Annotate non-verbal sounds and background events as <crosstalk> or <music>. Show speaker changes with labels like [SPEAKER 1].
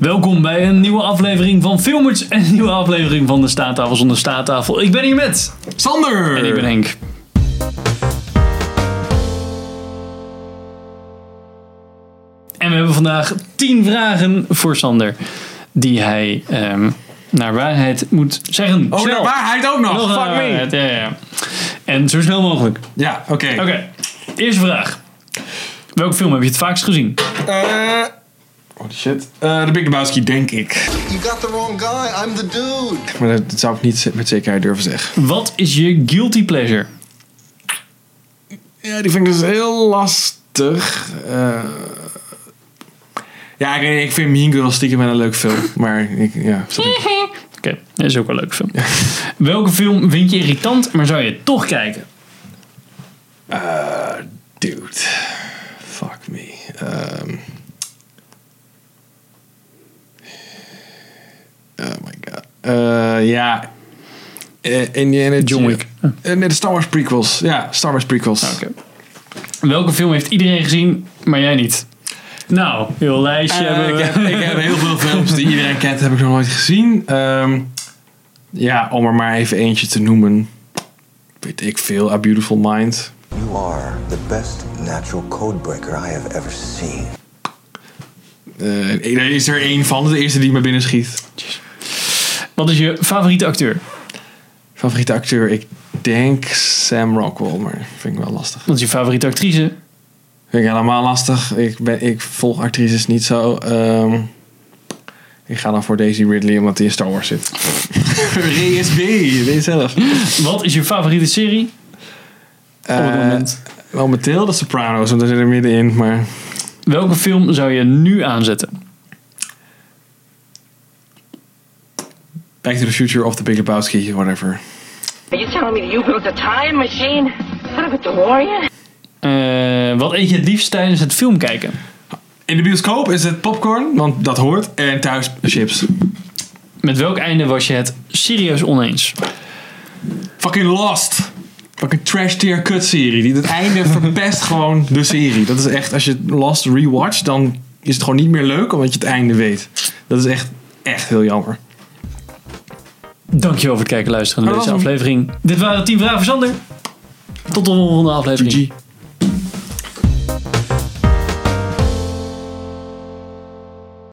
[SPEAKER 1] Welkom bij een nieuwe aflevering van Filmers en een nieuwe aflevering van de Staattafel zonder Staattafel. Ik ben hier met
[SPEAKER 2] Sander!
[SPEAKER 1] en ik ben Henk. En we hebben vandaag 10 vragen voor Sander die hij ehm, naar waarheid moet zeggen.
[SPEAKER 2] Oh,
[SPEAKER 1] Snel.
[SPEAKER 2] naar waarheid ook nog!
[SPEAKER 1] Nog eh, naar
[SPEAKER 2] Fuck me!
[SPEAKER 1] waarheid, Ja, ja, ja. En zo snel mogelijk.
[SPEAKER 2] Ja, oké.
[SPEAKER 1] Oké, eerste vraag. Welke film heb je het vaakst gezien?
[SPEAKER 2] Eh, holy shit. Eh, de Big Lebowski, denk ik.
[SPEAKER 3] You got the wrong guy. I'm the dude.
[SPEAKER 2] Maar dat, dat zou ik niet met zekerheid durven zeggen.
[SPEAKER 1] Wat is je guilty pleasure?
[SPEAKER 2] Ja, die vind ik dus heel lastig. Eh, ja, ik, ik vind Mean Girls stiekem wel een leuk film. Maar ik, ja, snap ik.
[SPEAKER 1] Oké, dat is ook wel een leuke film. <laughs> Welke film vind je irritant, maar zou je toch kijken?
[SPEAKER 2] Eh, dude. Fuck me. Ehm. oh my god. Eh, ja. Eh, Indiana
[SPEAKER 1] John Wick. Ah,
[SPEAKER 2] Eh, nee, de Star Wars prequels. Ja, Star Wars prequels.
[SPEAKER 1] Nou, Oké. Welke film heeft iedereen gezien, maar jij niet? Nou, heel lijstje
[SPEAKER 2] Eh,
[SPEAKER 1] hebben we.
[SPEAKER 2] ik, heb, ik heb heel veel films die iedereen kent, heb ik nog nooit gezien. Ehm, ja, om er maar even eentje te noemen. Weet ik veel. A Beautiful Mind.
[SPEAKER 4] You are the best natural code breaker I have ever seen.
[SPEAKER 2] Eh, er is er één van, de eerste die me binnen schiet.
[SPEAKER 1] Wat is je favoriete acteur?
[SPEAKER 2] Favoriete acteur? Ik denk Sam Rockwell, maar vind ik wel lastig.
[SPEAKER 1] Wat is je favoriete actrice?
[SPEAKER 2] Vind ik helemaal lastig. Ik, ben, ik volg actrices niet zo. Ehm, ik ga dan voor Daisy Ridley, omdat die in Star Wars <laughs> zit. Eh, RSB, weet je zelf.
[SPEAKER 1] Wat is je favoriete serie? Op het moment.
[SPEAKER 2] Eh, momenteel de Sopranos, want daar zit er middenin. Maar
[SPEAKER 1] Welke film zou je nu aanzetten?
[SPEAKER 2] Back to the Future of The Big Lebowski, whatever.
[SPEAKER 5] Are you telling me that you built a time machine out of a DeLorean?
[SPEAKER 1] Eh, wat eet je het liefst tijdens het film kijken?
[SPEAKER 2] In de bioscoop is het popcorn, want dat hoort. En thuis chips.
[SPEAKER 1] Met welk einde was je het serieus oneens?
[SPEAKER 2] Fucking Lost. Fucking trash tier kut serie. Die het einde <laughs> verpest gewoon de serie. Dat is echt, als je Lost rewatcht, dan is het gewoon niet meer leuk omdat je het einde weet. Dat is echt, echt heel jammer.
[SPEAKER 1] Dankjewel voor het kijken en luisteren naar
[SPEAKER 2] Dat
[SPEAKER 1] deze
[SPEAKER 2] was hem.
[SPEAKER 1] aflevering. Dit waren 10 vragen voor Sander. Tot de volgende aflevering.
[SPEAKER 2] GG.